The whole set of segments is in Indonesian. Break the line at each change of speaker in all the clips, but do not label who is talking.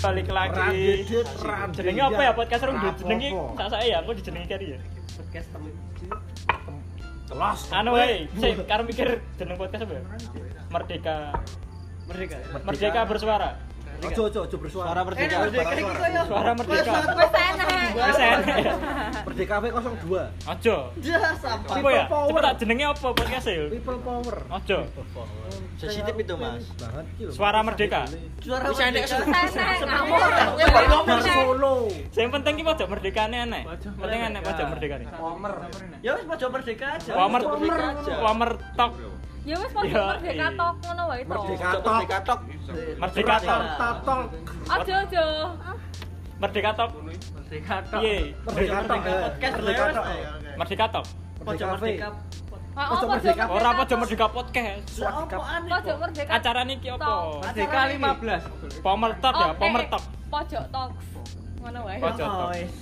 balik
Ran
lagi
didit, ran
jenenge
didit.
apa ya podcast rung
Ra
jenenge
apa-apa.
sak saya ya aku dijenengi kari ya
podcast temu
Telas.
anu wae sik karo mikir jeneng podcast apa ya merdeka
merdeka
merdeka bersuara
Ojo ojo ojo bersuara.
Suara Merdeka.
eh merdeka iki koyo
Suara merdeka.
Wes enak.
wis enak ya.
Merdeka W 02.
ojo
Dah, sampah.
apa ya
power.
cepet tak jenenge apa podcast ya
People power.
ojo
Sensitif itu, Mas.
Banget iki lho.
Suara Merdeka.
Suara
Wis enak,
merdeka.
suara.
Power Solo.
yang penting ki pojok merdekane aneh penting aneh pojok merdekane
Power.
Ya wis pojok merdeka aja.
Wamer,
Merdeka aja.
Wamer Talk,
Ya wis pokoknya
Iya,
merdeka
iya.
tok ngono wae to.
Merdeka Talk.
Merdeka Tok.
Merdeka Talk,
Jakarta Talk.
Aja aja.
Merdeka Talk,
Merdeka tok.
Piye?
Merdeka Talk. eh.
Podcast
Merdeka
lewat.
Talk.
Merdeka Talk.
Pojok
Merdeka
merdeka.
V.
Ah,
Pojok
apa
merdeka.
aja
Ora pojok Merdeka Podcast.
Lah apaan iki?
Pojok merdeka.
Acara niki apa?
Merdeka 15.
Pomer Talk ya,
Oh,
Pomer
eh,
Talk.
Pojok tok. Ngono wae.
Pojok
Oh,
Talk.
wis.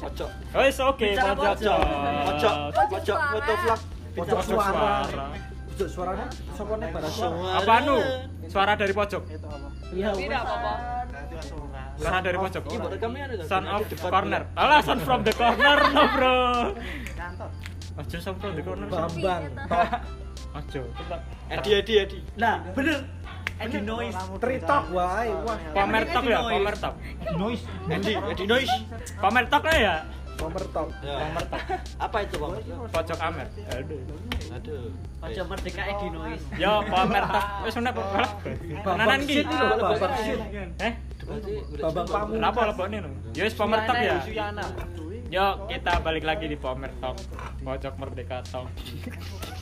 Pojok.
Wis Oh, oke,
Bicara
pojok
pojok.
Pojok.
Pojok
Pojok
suara.
foto vlog.
Pojok
Pojok
suara.
suara.
Pojok suaranya sapa nek barang suara.
Apa anu? Suara dari pojok.
Iya.
Tapi ndak apa-apa.
Suara dari pojok.
Ini buat rekamnya ada
Son of corner. Alah, son from the corner no, bro. Ojo son from the corner. son.
Bambang.
Tapi,
Tok.
Ojo. Coba.
Edi Edi Edi.
Nah, bener. Edi noise.
Tritok wae. Wah.
Pomer Talk ya,
Noise.
Pomer Talk.
Noise.
Edi Edi Noise.
Pomer Talk lah ya.
Power Talk.
Nomor Apa itu, Bang?
Pojok Amer. Aduh.
Aduh.
Pojok merdeka Edi noise.
Yo, Pomer Talk. Wis enak kok. Tenanan
Bambang
ki.
shit lho, Bambang shit.
Eh,
Berarti udah
Bambang
cukup.
Pamu.
Kenapa lebokne no? Ya wis Pomer Talk ya.
Suyana.
Yo, kita balik lagi di Pomer Talk. Pojok Merdeka Talk.